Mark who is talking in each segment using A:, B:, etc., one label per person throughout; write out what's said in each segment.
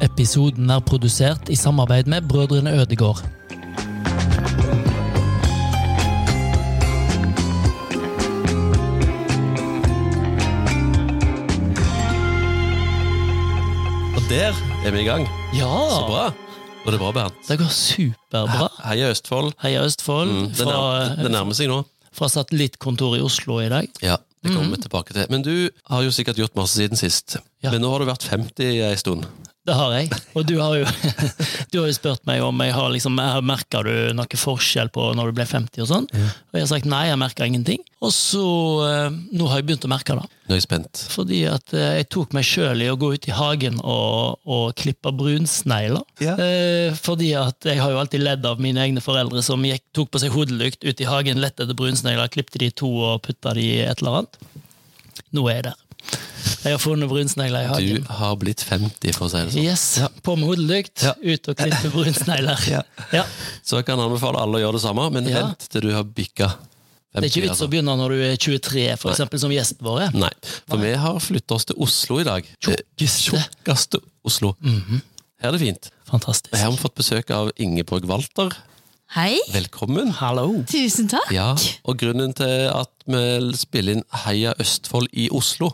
A: Episoden er produsert i samarbeid med Brødrene Ødegård.
B: Og der er vi i gang.
A: Ja!
B: Så bra. Var det bra, Bernt?
A: Det går superbra.
B: Heia Østfold.
A: Heia Østfold.
B: Mm, det, nær, det
A: Fra,
B: nærmer seg nå. Mhm.
A: fra satellittkontoret i Oslo i dag.
B: Ja, det kommer vi tilbake til. Men du har jo sikkert gjort masse siden sist.
A: Ja.
B: Men nå har du vært 50 en stund.
A: Det har jeg. Og du har jo, du har jo spurt meg om jeg har liksom, merker du noe forskjell på når du ble 50 og sånn. Og jeg har sagt nei, jeg merker ingenting. Og så eh, Nå har jeg begynt å merke det.
B: Nå er jeg spent.
A: Fordi at eh, jeg tok meg sjøl i å gå ut i hagen og, og klippe brunsnegler.
B: Ja.
A: Eh, fordi at jeg har jo alltid ledd av mine egne foreldre som gikk, tok på seg hodelykt ut i hagen, lette etter brunsnegler, klippte de i to og putta de i et eller annet. Nå er jeg der. Jeg har funnet brunsnegler i hagen.
B: Du har blitt 50, for å si det sånn.
A: Yes, På med hodelykt,
B: Ja.
A: ut og klippe brunsnegler.
B: Ja.
A: Ja.
B: sånn. Så jeg kan anbefale alle å gjøre det samme, men
A: Ja.
B: vent til du har bikka 50.
A: Det er ikke vits å
B: altså.
A: begynne når du er 23, for eksempel, som gjesten vår er.
B: Nei, for vi har flyttet oss til Oslo i dag. Eh,
A: Tjukkeste.
B: Tjukkeste Oslo. Her er det fint. Her
A: Fantastisk.
B: har vi fått besøk av Ingeborg Walter.
C: Hei.
B: Velkommen.
A: Hallo.
C: Tusen takk.
B: Ja, og grunnen til at vi spiller inn Heia Østfold i Oslo,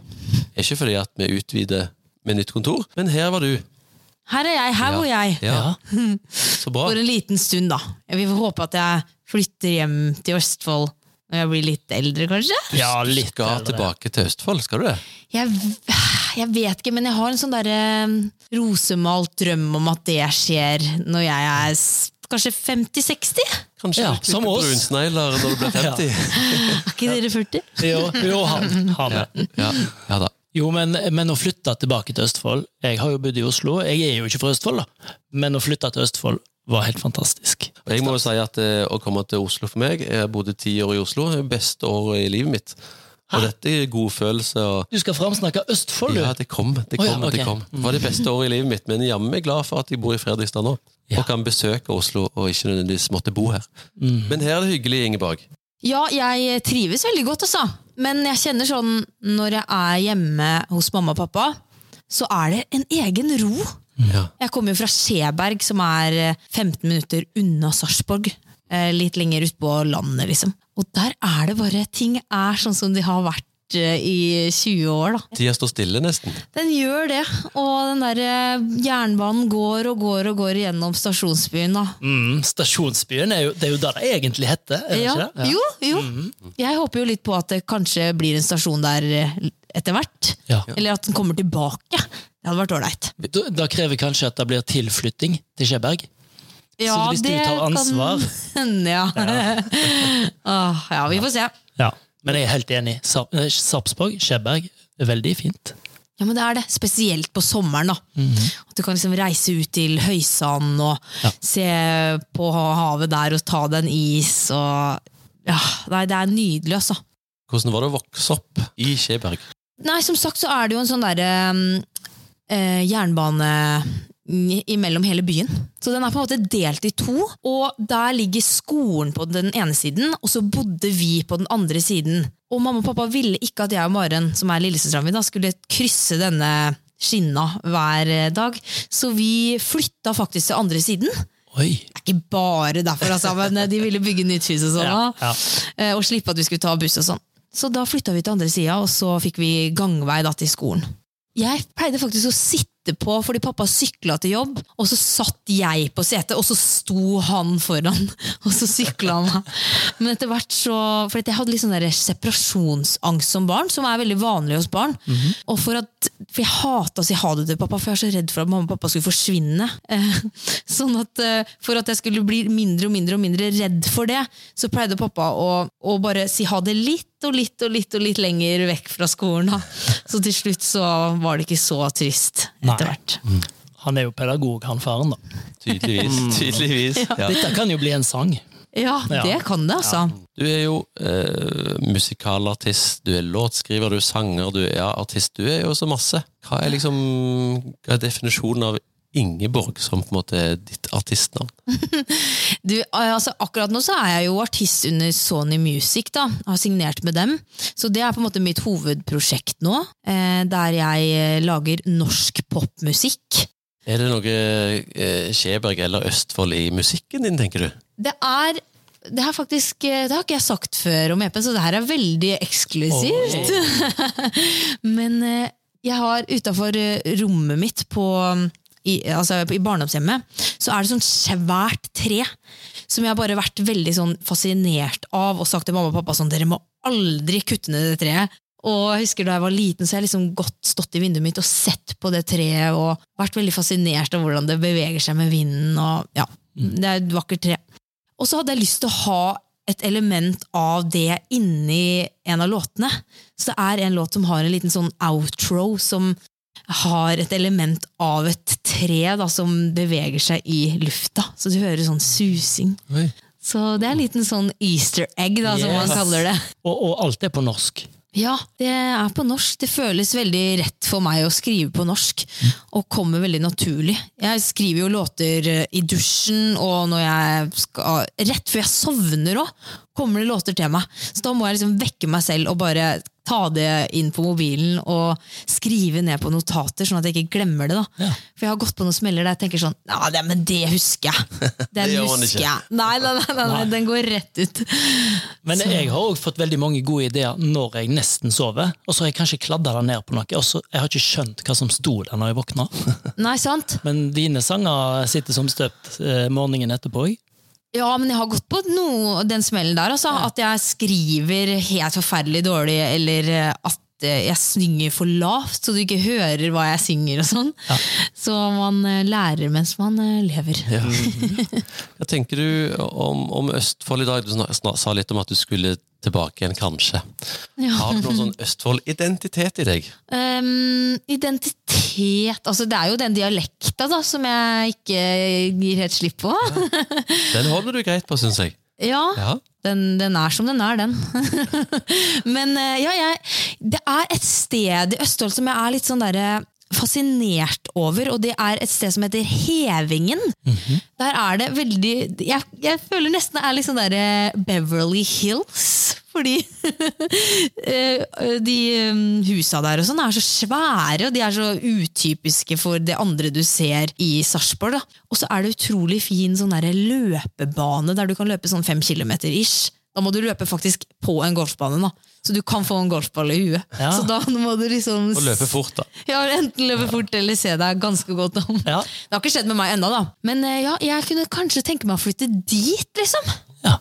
B: er ikke fordi at vi utvider med nytt kontor, men her var du.
C: Her er jeg. Her bor jeg.
B: Ja. Så bra.
C: For en liten stund, da. Vi får håpe at jeg flytter hjem til Østfold når jeg blir litt eldre, kanskje.
A: Ja,
B: Du
A: litt
B: skal
A: eldre.
B: tilbake til Østfold, skal du det?
C: Jeg, v- jeg vet ikke, men jeg har en sånn derre rosemalt drøm om at det skjer når jeg er s- kanskje 50-60.
B: Kanskje
A: Ja,
B: du klipper
A: som oss.
B: brunsnegler når du blir 50.
C: Er ikke dere 40?
A: Jo, jo han, han er.
B: Ja, ja da.
A: Jo, men, men å flytte tilbake til Østfold Jeg har jo bodd i Oslo, jeg er jo ikke fra Østfold, da. Men å flytte til Østfold var helt fantastisk.
B: Og Jeg må jo si at eh, å komme til Oslo for meg, jeg bodde ti år i Oslo, det er beste året i livet mitt. Og dette er god følelse. og
A: Du skal framsnakke Østfold,
B: ja,
A: du!
B: det kom, det
A: Å
B: kom,
A: ja, ok.
B: det kom. Det var det beste året i livet mitt, men jammen er jeg glad for at jeg bor i Fredrikstad nå.
A: Ja. Mm.
B: Og kan besøke Oslo, og ikke nødvendigvis måtte bo her. Men her er det hyggelig, Ingeborg.
C: Ja, jeg trives veldig godt, altså. Men jeg kjenner sånn når jeg er hjemme hos mamma og pappa, så er det en egen ro.
A: Mm.
B: Ja.
C: Jeg kommer jo fra Skjeberg, som er eh, 15 minutter unna Sarpsborg. eh, Litt lenger ut på landet, liksom. Og der er det bare Ting er sånn som de har vært eh, i 20 år, da.
B: Tida står stille, nesten.
C: Den gjør det. Og den der eh, jernbanen går og går og går gjennom stasjonsbyen, da.
A: Mm, stasjonsbyen er jo, det er jo det det egentlig heter, er det
C: Ja,
A: ikke det? Mhm.
C: jo, jo. Jeg håper jo litt på at det kanskje blir en stasjon der eh, etter hvert.
A: Ja.
C: Eller at den kommer tilbake. Det hadde vært ålreit.
A: Da, da krever kanskje at det blir tilflytting til Skjeberg.
C: Ja,
A: hvis du
C: det
A: tar
C: kan
A: ansvar.
C: hende, ja. Åh, ja, vi får se.
A: Ja. Men jeg er helt enig. Sa- eh, Sarpsborg, Skjeberg, er veldig fint.
C: Ja, men det er det. Spesielt på sommeren. da.
A: Mhm.
C: At du kan liksom reise ut til Høysand og
A: Ja.
C: se på havet der og ta deg en is. og... Ja, nei, Det er nydelig, altså.
B: Hvordan var det å vokse opp i Skjeberg?
C: Nei, som sagt så er det jo en sånn derre eh, jernbane i- imellom hele byen. Så den er på en måte delt i to, og der ligger skolen på den ene siden, og så bodde vi på den andre siden. Og mamma og pappa ville ikke at jeg og Maren, som er lillesøsteren min, da, skulle krysse denne skinna hver eh, dag, så vi flytta faktisk til andre siden. Det
A: Oi!
C: er ikke bare derfor, altså, men de ville bygge nytt hus og sånn.
A: Ja,
C: da.
A: ja.
C: Eh, og slippe at vi skulle ta buss og sånn. Så da flytta vi til andre sida, og så fikk vi gangvei da til skolen. Jeg pleide faktisk å sitte på, fordi pappa sykla til jobb, og så satt jeg på setet, og så sto han foran, og så sykla han meg. Men etter hvert så For jeg hadde litt sånn der separasjonsangst som barn, som er veldig vanlig hos barn.
A: Mhm.
C: Og for at For jeg hata å si ha det til pappa, for jeg var så redd for at mamma og pappa skulle forsvinne. Eh, Sånn at eh, For at jeg skulle bli mindre og mindre og mindre redd for det, så pleide pappa å, å bare si ha det litt og litt og litt og litt lenger vekk fra skolen. Da. Så til slutt så var det ikke så trist etter
A: Nei. Mm.
C: hvert.
A: Han er jo pedagog, han faren, da.
B: Tydeligvis.
A: Mm.
B: tydeligvis. Ja.
A: Dette kan jo bli en sang.
C: Ja,
A: Ja.
C: det kan det, altså.
B: Du er jo eh, musikalartist, du er låtskriver, du er sanger, du er ja, artist. Du er jo så masse. Hva er liksom hva er definisjonen av Ingeborg som på en måte er ditt artistnavn?
C: Du, altså, akkurat nå så er jeg jo artist under Sony Music, da. Jeg har signert med dem. Så det er på en måte mitt hovedprosjekt nå. Eh, der jeg eh, lager norsk popmusikk.
B: Er det noe eh, Skjeberg eller Østfold i musikken din, tenker du?
C: Det er det her faktisk, eh, det har ikke jeg sagt før om EP, så det her er veldig eksklusivt. Men eh, jeg har utafor rommet mitt på, i, altså, i barndomshjemmet, så er det sånn svært tre som jeg har bare vært veldig sånn fascinert av og sagt til mamma og pappa sånn, dere må aldri kutte ned det treet. Og jeg husker Da jeg var liten, så har jeg liksom godt stått i vinduet mitt og sett på det treet og vært veldig fascinert av hvordan det beveger seg med vinden. og ja, Det er et vakkert tre. Og så hadde jeg lyst til å ha et element av det inni en av låtene. Så det er en låt som har en liten sånn outro, som har et element av et tre da, som beveger seg i lufta. Så du hører sånn susing.
B: Oi.
C: Så det er en liten sånn easter egg, da, som man
A: Yes.
C: kaller det.
A: Og, og alt er på norsk.
C: Ja, det er på norsk. Det føles veldig rett for meg å skrive på norsk, og kommer veldig naturlig. Jeg skriver jo låter eh, i dusjen, og når jeg skal, rett før jeg sovner òg, kommer det låter til meg. Så da må jeg liksom vekke meg selv og bare ta det inn på mobilen og skrive ned på notater, sånn at jeg ikke glemmer det. da. For jeg har gått på noen smeller der jeg tenker sånn Ja, det, men det husker jeg! Den
B: gjør man
C: husker
B: ikke.
C: jeg. Nei, nei, nei, nei, nei, den går rett ut.
A: Men jeg har også fått veldig mange gode ideer når jeg nesten sover, og så har jeg kanskje kladda det ned på noe. Og så, jeg har ikke skjønt hva som sto der når jeg våkna.
C: Nei, sant?
A: Men dine sanger sitter som støpt eh, morgenen etterpå. jeg.
C: Ja, men jeg har gått på noe, den smellen der, altså. At jeg skriver helt forferdelig dårlig, eller eh, at eh, jeg synger for lavt, så du ikke hører hva jeg synger og sånn. Så man eh, lærer mens man eh, lever.
B: Ja. Hva tenker du om, om Østfold i dag? Du snak- snak- sa litt om at du skulle tilbake igjen, kanskje. Har du noen sånn Østfold-identitet i deg?
C: Ehm, identitet Altså, det er jo den dialekta da, som jeg ikke gir helt slipp på.
B: Den holder du greit på, syns jeg.
C: Ja,
B: Ja.
C: Den, den er som den er, den. Men eh, ja, jeg, det er et sted i Østfold som jeg er litt sånn derre fascinert over, og det er et sted som heter Hevingen. Der er det veldig Jeg, jeg føler nesten det er litt sånn derre Beverly Hills, fordi eh, de um, husa der og sånn er så svære, og de er så utypiske for det andre du ser i Sarpsborg. da. Og så er det utrolig fin sånn derre løpebane der du kan løpe sånn fem kilometer ish. Da må du løpe faktisk på en golfbane, da. så du kan få en golfball i huet.
A: Ja.
C: Så da må du liksom
B: Og løper fort, da.
C: ja, Enten løpe fort eller se deg ganske godt om.
A: Ja.
C: Det har ikke skjedd med meg ennå, da. Men eh, ja, jeg kunne kanskje tenke meg å flytte dit, liksom.
A: Ja.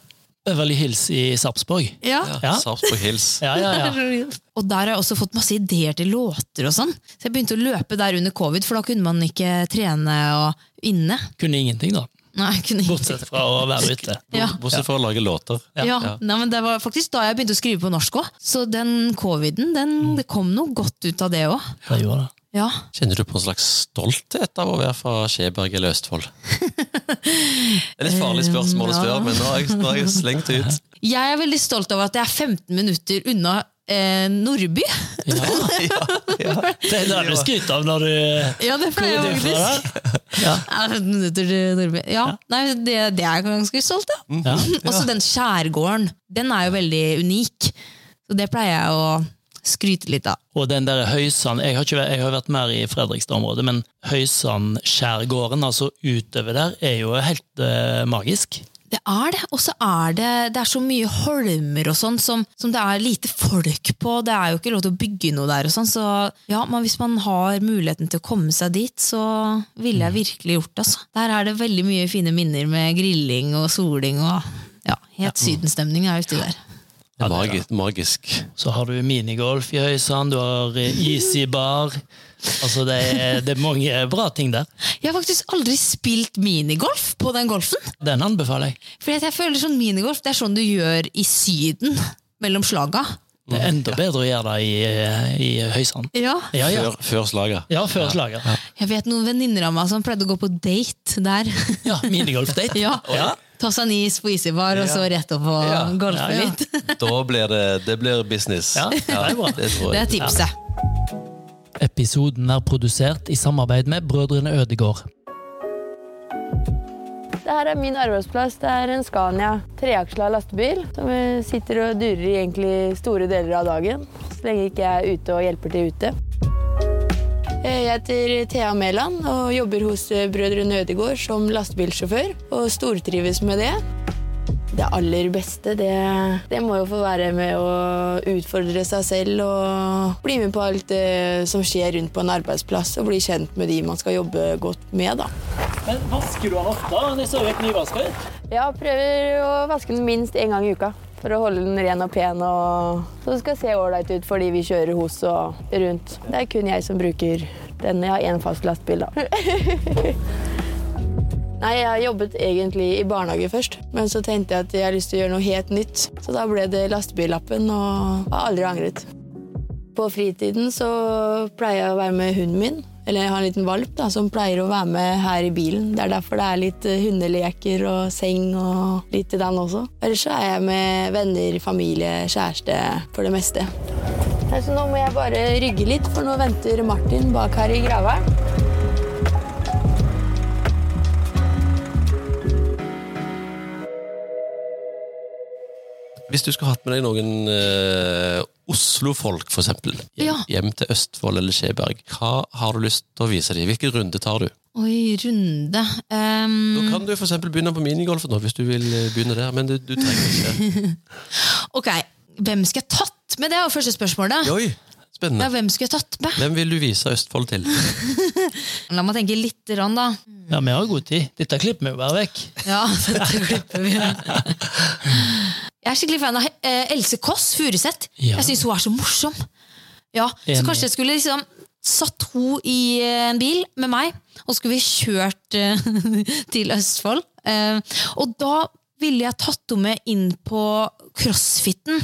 A: Beverly Hills i Sarpsborg.
C: Ja.
B: Ja.
A: Ja.
B: Sarpsborg Hills.
A: Ja, ja, ja.
C: Og der har jeg også fått masse ideer til låter og sånn. Så jeg begynte å løpe der under covid, for da kunne man ikke trene og inne.
A: Kunne ingenting, da.
C: Nei, jeg kunne ikke.
A: Bortsett fra å være ute.
C: Ja.
B: Bortsett fra å lage låter.
C: Ja, Nei, men Det var faktisk da jeg begynte å skrive på norsk òg. Så den coviden, den, det kom noe godt ut av det òg.
A: Jeg gjorde det.
C: Ja.
B: Kjenner du på en slags stolthet av å være fra Skjeberg eller Østfold? Det er litt farlig spørsmål å spørre, men nå har jeg, nå har jeg slengt det ut.
C: Jeg er veldig stolt over at jeg er 15 minutter unna eh, Nordby.
A: Det er det du skryter av når du
C: Ja, det pleier
A: Hvor er
C: jeg
A: det fra,
C: faktisk. Ja, 15 minutter til Nordby. Ja, Mm, Nei, det, det er jeg ganske stolt av.
A: ja.
C: Og så den skjærgården, den er jo veldig unik. Så det pleier jeg å skryte litt av.
A: Og den der Høysand Jeg har, ikke, vært- jeg har vært mer i Fredrikstad-området, men Høysandskjærgården, altså utover der, er jo helt eh, magisk.
C: Det er det, og så er det, det er så mye holmer og sånn som, som det er lite folk på. Det er jo ikke lov til å bygge noe der og sånn, så ja, men hvis man har muligheten til å komme seg dit, så ville jeg virkelig gjort det. Altså. Der er det veldig mye fine minner med grilling og soling og ja, helt sydenstemning er ute der.
B: Det er magisk. magisk.
A: Så har du minigolf i Høysand, du har eh, is i bar. Altså, det er, det er mange bra ting der.
C: Jeg har faktisk aldri spilt minigolf på den golfen.
A: Den anbefaler jeg.
C: For jeg føler sånn minigolf, det er sånn du gjør i syden, mellom slaga.
A: Det er enda bedre å gjøre det i, eh, i Høysand.
C: Ja.
A: Ja, ja.
B: Før, før slaget.
A: ja før slaget.
C: Jeg vet noen venninner av meg som pleide å gå på date der.
A: Ja, Minigolf-date.
C: ja.
A: Ja.
C: Ta seg en is på isebar, og så rett opp og
B: Ja.
C: golfe
A: Ja, ja.
C: litt.
B: Da blir det, det blir business.
A: Ja, det er bra.
B: det tror
C: Det
B: jeg.
C: er tipset.
A: Episoden er produsert i samarbeid med Brødrene Ødegård.
D: Det her er min arbeidsplass. Det er en Scania treaksla lastebil som eh, sitter og durer i egentlig store deler av dagen. Så lenge ikke jeg er ute og hjelper til ute. Eh, Jeg heter Thea Mæland og jobber hos Brødrene Ødegård som lastebilsjåfør og stortrives med det. Det aller beste, det, det må jo få være med å utfordre seg selv og bli med på alt det som skjer rundt på en arbeidsplass, og bli kjent med de man skal jobbe godt med, da.
A: Men vasker du den ofte? Jeg så jo et nyvasket.
D: Ja, prøver å vaske den minst én gang i uka. For å holde den ren og pen, og så det skal se ålreit ut fordi vi kjører hos og rundt. Det er kun jeg som bruker den. Jeg har én fast lastebil, da. Nei, jeg jobbet egentlig i barnehage først, men så tenkte jeg at jeg har lyst til å gjøre noe helt nytt. Så da ble det lastebillappen, og har aldri angret. På fritiden så pleier jeg å være med hunden min. Eller jeg har en liten valp da, som pleier å være med her i bilen. Det er derfor det er litt eh, hundeleker og seng og litt til den også. Ellers så er jeg med venner, familie, kjæreste for det meste. Nei, Så nå må jeg bare rygge litt, for nå venter Martin bak her i graveren.
B: Hvis du skulle hatt med deg noen eh, Oslo-folk, for eksempel, hjem,
C: Ja.
B: hjem til Østfold eller Skjeberg, hva har du lyst til å vise dem? Hvilken runde tar du?
C: Oi, runde. Ehm,
B: Da kan du for eksempel begynne på minigolf nå, hvis du vil eh, begynne der, men du, du trenger ikke.
C: ok, hvem skal jeg tatt med? Det er jo første spørsmålet.
B: Oi,
C: Ja,
B: spennende.
C: hvem skal jeg tatt med?
B: Hvem vil du vise Østfold til?
C: La meg tenke litt, rann, da.
A: Ja, vi har god tid. Dette klipper vi jo bare vekk.
C: Ja, dette klipper vi. Jeg er skikkelig fan av eh, Else Kåss Furuseth.
A: Ja.
C: Jeg syns hun er så morsom. Ja, Så
A: Enig.
C: kanskje jeg skulle liksom satt hun i eh, en bil med meg, og skulle vi kjørt eh, til Østfold. Eh, og da ville jeg tatt henne med inn på crossfiten.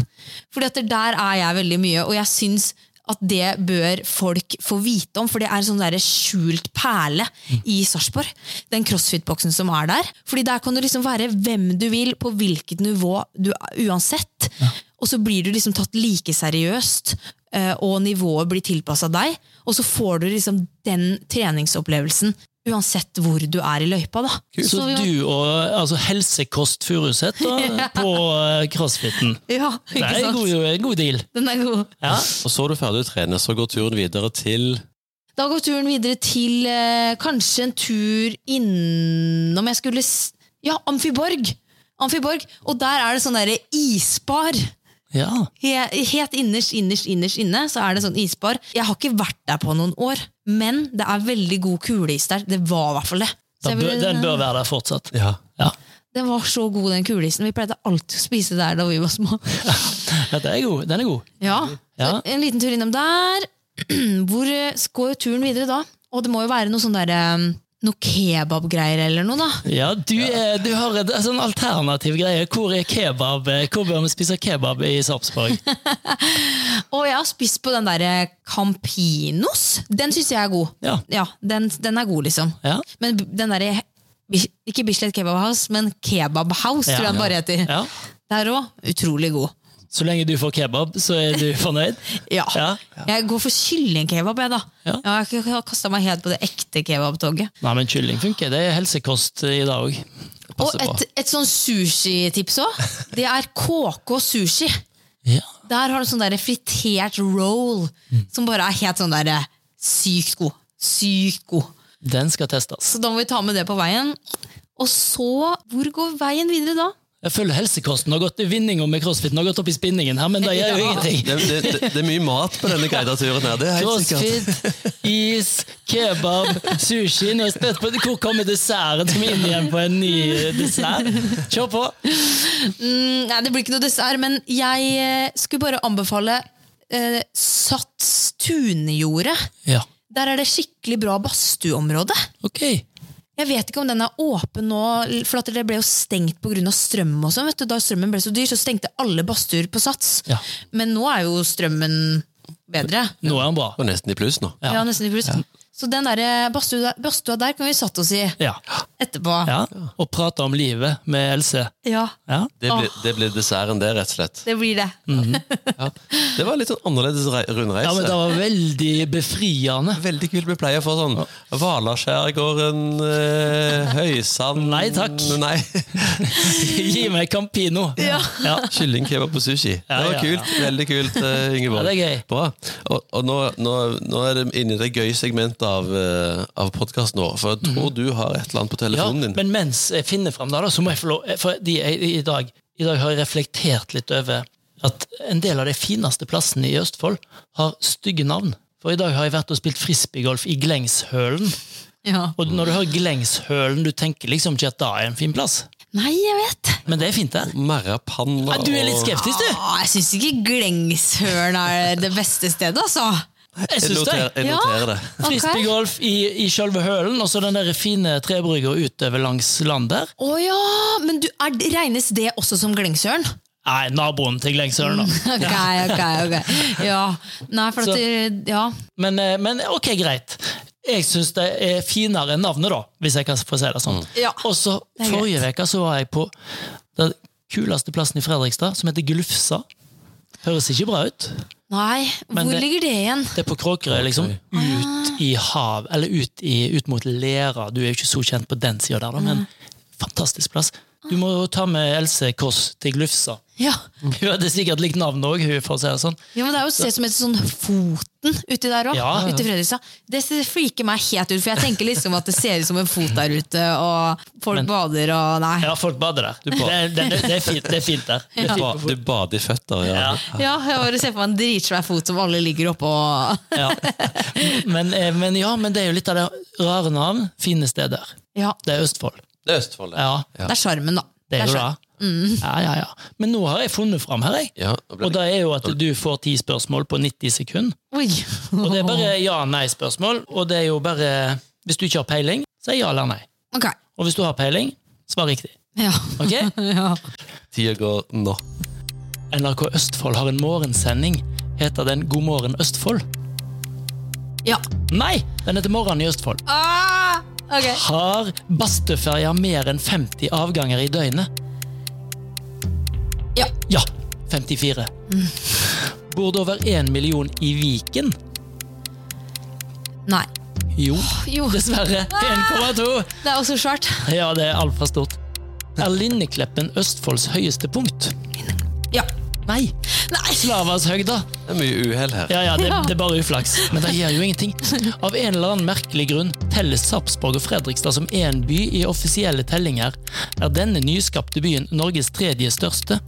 C: Fordi at der er jeg veldig mye, og jeg syns at det bør folk få vite om, for det er en sånn der skjult perle i Sarpsborg. Den crossfit-boksen som er der. Fordi der kan du liksom være hvem du vil, på hvilket nivå du er, uansett. Og så blir du liksom tatt like seriøst, eh, og nivået blir tilpassa deg. Og så får du liksom den treningsopplevelsen uansett hvor du er i løypa, da.
A: Så
C: vi må-
A: du og altså, Helsekost Furuseth da, på eh, crossfiten.
C: Ja,
A: Det
C: ikke
A: er en god,
C: sant?
A: en god deal.
C: Den er god.
A: Ja.
B: Og så er du ferdig å trene, så går turen videre til
C: Da går turen videre til eh, kanskje en tur innom jeg skulle s- Ja, Amfiborg! Amfiborg. Og der er det sånn derre isbar.
A: ja.
C: He, helt innerst, innerst, innerst inne så er det sånn isbar. Jeg har ikke vært der på noen år, men det er veldig god kuleis der. Det var i hvert fall det. Så
A: Den,
C: jeg
A: bør,
C: ville-
A: den bør være der fortsatt.
B: Ja.
A: Ja.
C: Den var så god, den kuleisen. Vi pleide alltid å spise der da vi var små.
A: Dette er god. Den er god.
C: Ja,
A: Ja.
C: Så En liten tur innom der. Hvor eh, går turen videre da? Og det må jo være noe sånn der, eh, noe kebabgreier eller noe, da.
A: Ja, du, er, du har en en sånn alternativ greie. Hvor er kebab? eh, Hvor bør vi spise kebab i Sarpsborg?
C: Og jeg har spist på den der eh, Campinos. Den syns jeg er god.
A: Ja.
C: Ja, den, den er god, liksom.
A: Ja.
C: Men b- den derre Bis- Ikke Bislett Kebab House, men Kebab House,
A: Ja.
C: tror jeg den bare heter.
A: ja.
C: Der òg. Utrolig god.
A: Så lenge du får kebab, så er du fornøyd?
C: Ja.
A: Ja.
C: Jeg går for kyllingkebab, jeg, da.
A: Ja.
C: Ja, jeg har kasta meg helt på det ekte kebabtoget.
A: Nei, men kylling funker. Det er helsekost i dag òg.
C: Og
B: passer bra.
C: et, et sånn sushitips òg. Det er KK Sushi.
A: Ja.
C: Der har du sånn der fritert roll
A: Mm.
C: som bare er helt sånn der sykt god. Sykt god.
A: Den skal testes.
C: Så da må vi ta med det på veien. Og så, hvor går veien videre da?
A: Jeg føler helsekosten har gått i vinninga med crossfiten. har gått opp i spinningen her, men det gjør jo
C: Ja.
A: ingenting.
B: Det, det, det, det er mye mat på denne guidede turen her. Det er helt sikkert.
A: Crossfit, is, kebab, sushi. Nå er jeg spent på hvor kommer desserten som er inn igjen på en ny eh, dessert. Kjør på!
C: Mm, nei, det blir ikke noe dessert, men jeg eh, skulle bare anbefale eh, Sats Tunejordet.
A: Ja,
C: Der er det skikkelig bra badstueområde.
A: ok.
C: Jeg vet ikke om den er åpen nå, for at det ble jo stengt pga. strøm. Og sånn, vet du. Da strømmen ble så dyr, så stengte alle badstuer på Sats.
A: Ja.
C: Men nå er jo strømmen bedre.
A: Nå er han bra.
B: Og nesten i pluss nå.
A: Ja.
C: eh, Ja, nesten i pluss. Så den der badstua, badstua der kunne vi satt oss i.
A: Ja.
C: etterpå.
A: Ja, og prate om livet med Else.
C: Ja,
A: Ja.
B: Det blir, det blir desserten det, rett og slett.
C: det blir det.
A: Mm.
B: Ja. Det var litt sånn annerledes rei-
A: ja, men
B: rundreise.
A: det var veldig befriende.
B: Veldig kult med pleier for sånn Valaskjærgården, eh, Høysand
A: Nei, takk.
B: Nei.
A: Gi meg Campino!
C: Ja.
A: Ja.
B: Kyllingkebab på sushi.
A: Ja,
B: det var
A: ja,
B: kult. Veldig kult, eh, Ingeborg.
A: Ja, det er gøy.
B: Bra. Og, og nå, nå, nå er det inne i det gøye segmentet av, eh, av podkasten vår, for jeg tror du har et eller annet på
A: Mhm. Ja,
B: telefonen din.
A: men mens jeg finner fram det, da, så må jeg få lov Fordi jeg, i, dag, I dag har jeg reflektert litt over at en del av de fineste plassene i Østfold har stygge navn. For i dag har jeg vært og spilt frisbeegolf i Glengshølen.
C: Ja.
A: Og når du hører Glengshølen, du tenker liksom ikke at det er en fin plass.
C: Nei, jeg vet.
A: Men det er fint der.
B: Merrapanna
A: Ja, du er litt skeptisk, du!
C: Ah, jeg syns ikke Glengshølen er det beste stedet, altså.
A: Jeg
B: Jeg
A: syns det.
B: noterer, jeg
C: Ja.
B: noterer det.
C: Ok.
A: Frisbeegolf i, i sjølve hølen, og så den der fine trebrygga utover langs land der.
C: Å ja, men du, er, regnes det også som Glengshølen?
A: Nei, naboen til Glengshølen, da.
C: Ok, ok, ok. Ja. Nei, for at
A: Så-
C: du, ja.
A: Men, eh, men ok, greit. Jeg syns det er finere enn navnet, da, hvis jeg kan få si det sånn.
C: Mm. Ja.
A: Og så
C: er greit.
A: Forrige uke så var jeg på den kuleste plassen i Fredrikstad, som heter Glufsa. Høres ikke bra ut.
C: Nei,
A: Men
C: hvor
A: det-
C: ligger det igjen?
A: Det er på Kråkerøy, liksom. Ut i hav, eller ut, i, ut mot Lera. Du er jo ikke så kjent på den sida der, da, men fantastisk plass. Du må
C: Ah.
A: jo ta med Else Kåss til Glufsa.
C: Ja.
A: Hun hadde sikkert likt navnet òg, hun, for å si det sånn.
C: ja, men Det er jo et sted som heter sånn Foten uti der òg.
A: Ja, ja.
C: Ute i Fredrikstad. Det ser- freaker meg helt ut, for jeg tenker liksom at det ser ut som en fot der ute, og folk bader og Nei.
A: Ja, folk bader der. Det,
B: bader.
A: det, det, det, er fint, det er fint der. Det er
B: Du, ba,
A: fint.
B: du bader i føtter, ja.
A: Ja.
C: Ja, jeg bare ser for meg en dritsvær fot som alle ligger oppå.
A: Ja. Men, eh, men ja, men det er jo litt av det rare navn. Fine steder.
C: Ja,
A: Det er Østfold.
B: Det er Østfold, det.
A: Ja,
C: det er sjarmen, da.
A: det er jo
C: sjarmen.
A: det. Ja, ja, ja. Men nå har jeg funnet fram her, jeg.
B: Ja, nå ble
A: Og
B: det-
A: det er jo at du får ti spørsmål på 90 sekunder.
C: Oi.
A: Og det er bare ja-nei-spørsmål. Og det er jo bare Hvis du ikke har peiling, så er ja eller nei.
C: Ok.
A: Og hvis du har peiling, svar riktig.
C: Ja.
A: Ok?
C: ja.
B: Tida går nå.
A: NRK Østfold har en morgensending. Heter den God morgen Østfold?
C: ja.
A: Nei! Den heter Morgen i Østfold.
C: Ah, ok.
A: Har Bastøferja mer enn 50 avganger i døgnet?
C: Ja.
A: Ja, 54. Bor det over én million i Viken?
C: Nei.
A: Jo,
C: Jo, det
A: dessverre. 1,2!
C: er også svært.
A: Ja, det er altfor stort. Er Linnekleppen Østfolds høyeste punkt?
C: Ja.
A: Nei.
C: Nei.
A: Slavashøgda.
B: Det er mye uhell her.
A: Ja, ja, det, det er bare uflaks. Men det gjør jo ingenting. Av en eller annen merkelig grunn telles Sarpsborg og Fredrikstad som én by i offisielle tellinger. Er denne nyskapte byen Norges tredje største?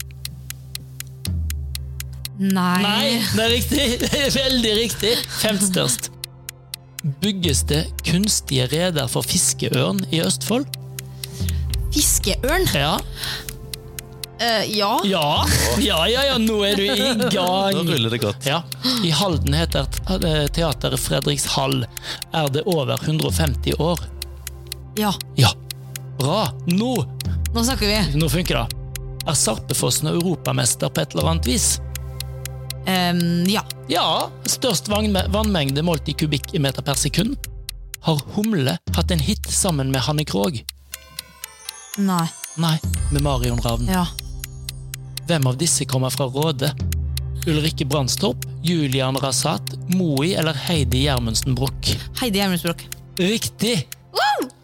C: Nei.
A: Nei, det er riktig. Det er veldig riktig. Femt størst. Bygges det kunstige reder for fiskeørn i Østfold?
C: Fiskeørn?
A: Ja.
C: Eh, ja.
A: Ja, ja, ja, ja. nå er du i
B: Nå
A: gang.
B: ruller det godt.
A: Ja. I Halden heter t- teateret Fredrikshall. Er det over 150 år?
C: Ja.
A: Ja. Bra. Nå,
C: Nå snakker vi.
A: nå funker det. Er Sarpefossen europamester på et eller annet vis?
C: Em, ja.
A: Ja. Størst vannme- vannmengde målt i kubikkmeter per sekund. Har Humle hatt en hit sammen med Hanne Krogh?
C: Nei.
A: Nei, med Marion Ravn.
C: Ja.
A: Hvem av disse kommer fra Råde? Ulrikke Brandstorp, Julian Rasat, Moi eller Heidi Gjermundsen Broch?
C: Heidi Gjermundsbrok.
A: Riktig!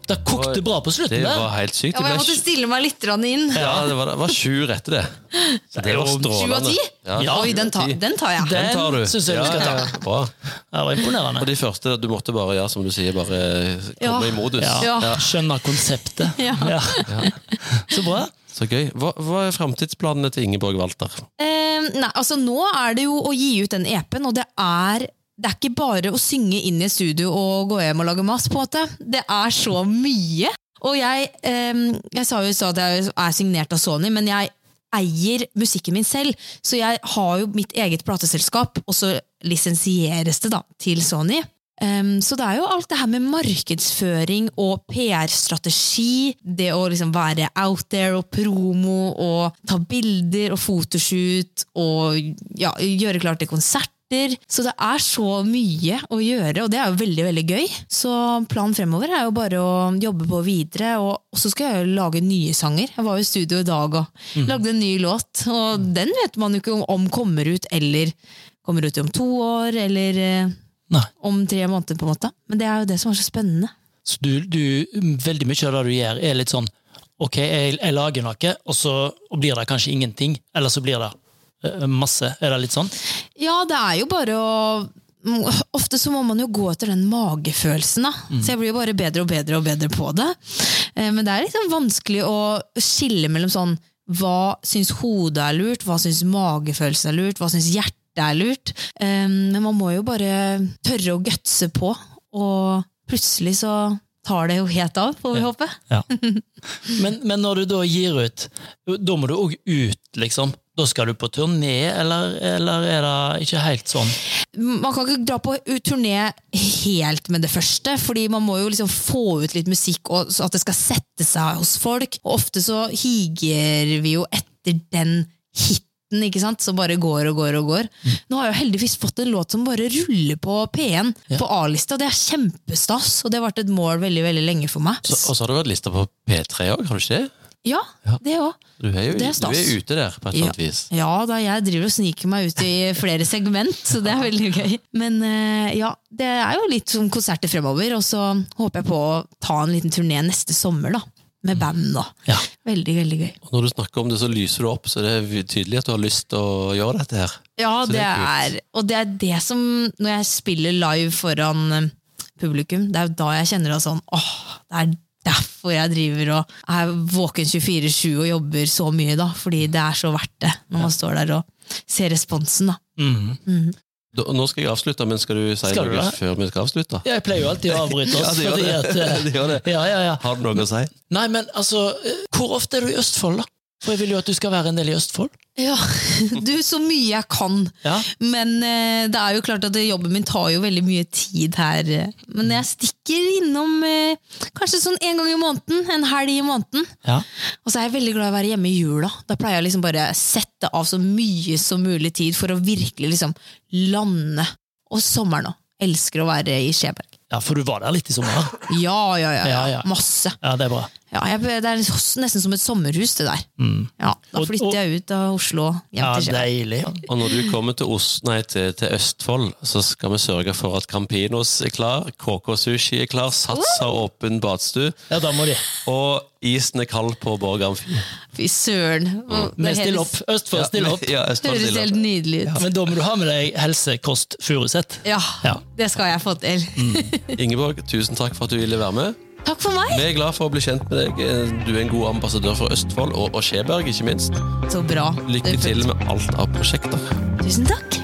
A: Det kokte bra på slutten
B: Det var
A: der.
B: helt sykt.
C: Ja, men
B: Det
C: jeg
B: ble
C: måtte stille meg litt grann inn.
B: Ja, det var, det var sju rette, det. Så det var
C: Sju av
B: strålende.
C: ti?
A: Ja.
C: Oi, den, tar- den tar jeg.
A: Den
B: tar du.
A: synes jeg du skal ta.
B: Ja, ja, bra.
A: Det var
B: Og
A: imponerende.
B: de første, du måtte bare, ja, som du sier, bare komme
C: Ja.
B: i modus.
A: Ja,
C: Ja.
A: Skjønner konseptet.
C: Ja.
A: Ja. Så bra.
B: Så gøy. Hva, hva er framtidsplanene til Ingeborg Walter?
C: Em, nei, altså nå er det jo å gi ut den EP-en, og det er det er ikke bare å synge inn i et studio og gå hjem og lage mass, på en måte. Det er så mye. Og jeg, em, jeg sa jo i stad at jeg er signert av Sony, men jeg eier musikken min selv. Så jeg har jo mitt eget plateselskap, og så lisensieres det da til Sony. Em, Ehm, så det er jo alt det her med markedsføring og PR-strategi, det å liksom være out there og promo og ta bilder og photoshoot og ja, gjøre klart til konserter konserter. Så det er så mye å gjøre, og det er jo veldig veldig gøy. Så planen fremover er jo bare å jobbe på videre, og så skal jeg jo lage nye sanger. Jeg var jo i studio i dag og lagde en ny låt, og den vet man jo ikke om kommer ut, eller kommer ut om to år, eller eh,
A: Nei.
C: om tre måneder, på en måte. Men det er jo det som er så spennende.
A: Så du, du, veldig mye av det du gjør, er litt sånn Ok, jeg, jeg lager noe, og så blir det kanskje ingenting. Eller så blir det eh, masse. Er det litt sånn?
C: Ja, det er jo bare å Mm, Ofte så må man jo gå etter den magefølelsen, da. Så jeg blir jo bare bedre og bedre og bedre på det. Eh, Men det er liksom vanskelig å skille mellom sånn hva syns hodet er lurt, hva syns magefølelsen er lurt, hva syns hjertet er lurt. Eh, Men man må jo bare tørre å gutse på, og plutselig så tar det jo helt av, får vi
A: Ja.
C: håpe.
A: Ja. Men, men når du da gir ut, da må du òg ut, liksom. Da skal du på turné, eller, eller er det ikke helt sånn?
C: man kan ikke dra på turné helt med det første, fordi man må jo liksom få ut litt musikk, og så at det skal sette seg hos folk. Og ofte så higer vi jo etter den hiten, ikke sant, som bare går og går og går.
B: Mm.
C: Nå har jeg jo heldigvis fått en låt som bare ruller på P1, på A-lista, og det er kjempestas, og det har vært et mål veldig, veldig lenge for meg.
B: Så, og så har du vært lista på P3 òg, har du ikke det?
C: Ja,
B: Ja.
C: det òg.
B: Du er jo
C: Det
B: du
C: er stas.
B: er ute der, på et eller annet vis.
C: Ja, da jeg driver og sniker meg ut i flere segment, så det er veldig gøy. Men eh, ja, det er jo litt som konserter fremover, og så håper jeg på å ta en liten turné neste sommer, da. Med band, da.
A: Ja.
C: Veldig, veldig gøy.
B: Og når du snakker om det, så lyser du opp, så det er tydelig at du har lyst til å gjøre dette her.
C: Ja,
B: Så det
C: det
B: er
C: er, og det er det som Når jeg spiller live foran eh, publikum, det er jo da jeg kjenner det sånn Åh, det er derfor jeg driver og er våken 24-7 og jobber så mye, da. Fordi det er så verdt det, når man står der og ser responsen, da.
A: Mhm.
B: Da, nå skal jeg avslutte, men skal du si
A: Skal du
B: noe
A: det?
B: før vi skal avslutte?
A: Jeg pleier jo alltid å avbryte
B: Ja,
A: oss.
B: det gjør
A: fordi
B: det.
A: at, eh,
B: Det gjør det.
A: ja, ja, ja.
B: Har du noe å si?
A: Nei, men altså, eh, hvor ofte er du i Østfold, da? For jeg vil jo at du skal være en del i Østfold.
C: Ja, du, så mye jeg kan.
A: Ja.
C: Men eh, det er jo klart at jobben min tar jo veldig mye tid her. eh. Men jeg stikker innom eh, kanskje sånn en gang i måneden, en helg i måneden.
A: Ja.
C: Og så er jeg veldig glad i å være hjemme i jula. Da pleier jeg liksom bare sette av så mye som mulig tid for å virkelig liksom lande. Og sommeren òg. Elsker å være i Skjeberg.
A: ja, for du var der litt i sommer.
C: Ja, ja, ja. ja,
A: Ja, ja.
C: Masse.
A: Ja, det er bra.
C: Ja, jeg, det er nesten som et sommerhus, det der.
A: Mm.
C: Ja, da
A: Og- og-
C: flytter jeg ut av Oslo og hjem
A: Ja,
C: til Skjeberg.
A: deilig.
B: Og når du kommer til, Os nei, til, til Østfold, så skal vi sørge for at Campinos er klar, KK Sushi er klar, Sats har åpen badstue,
A: Ja, da må de.
B: og isen er kald på Borg Amfi.
C: Fy søren.
A: Vi
C: Det
A: stiller
C: høres-
A: opp. Østfold stiller opp.
B: Ja, Østfold
C: Høres
B: stiller
C: helt
B: opp.
C: nydelig ut.
A: Men da må du ha med deg Helse Kost Furuseth.
C: Ja, Mm.
A: Ja.
C: det skal jeg få til.
B: Ingeborg, tusen takk for at du ville være med.
C: Takk for meg!
B: Vi er glad for å bli kjent med deg. Eh, Du er en god ambassadør for Østfold, og, og Skjeberg, ikke minst.
C: Så bra.
B: Lykke til med alt av prosjekter.
C: Tusen takk.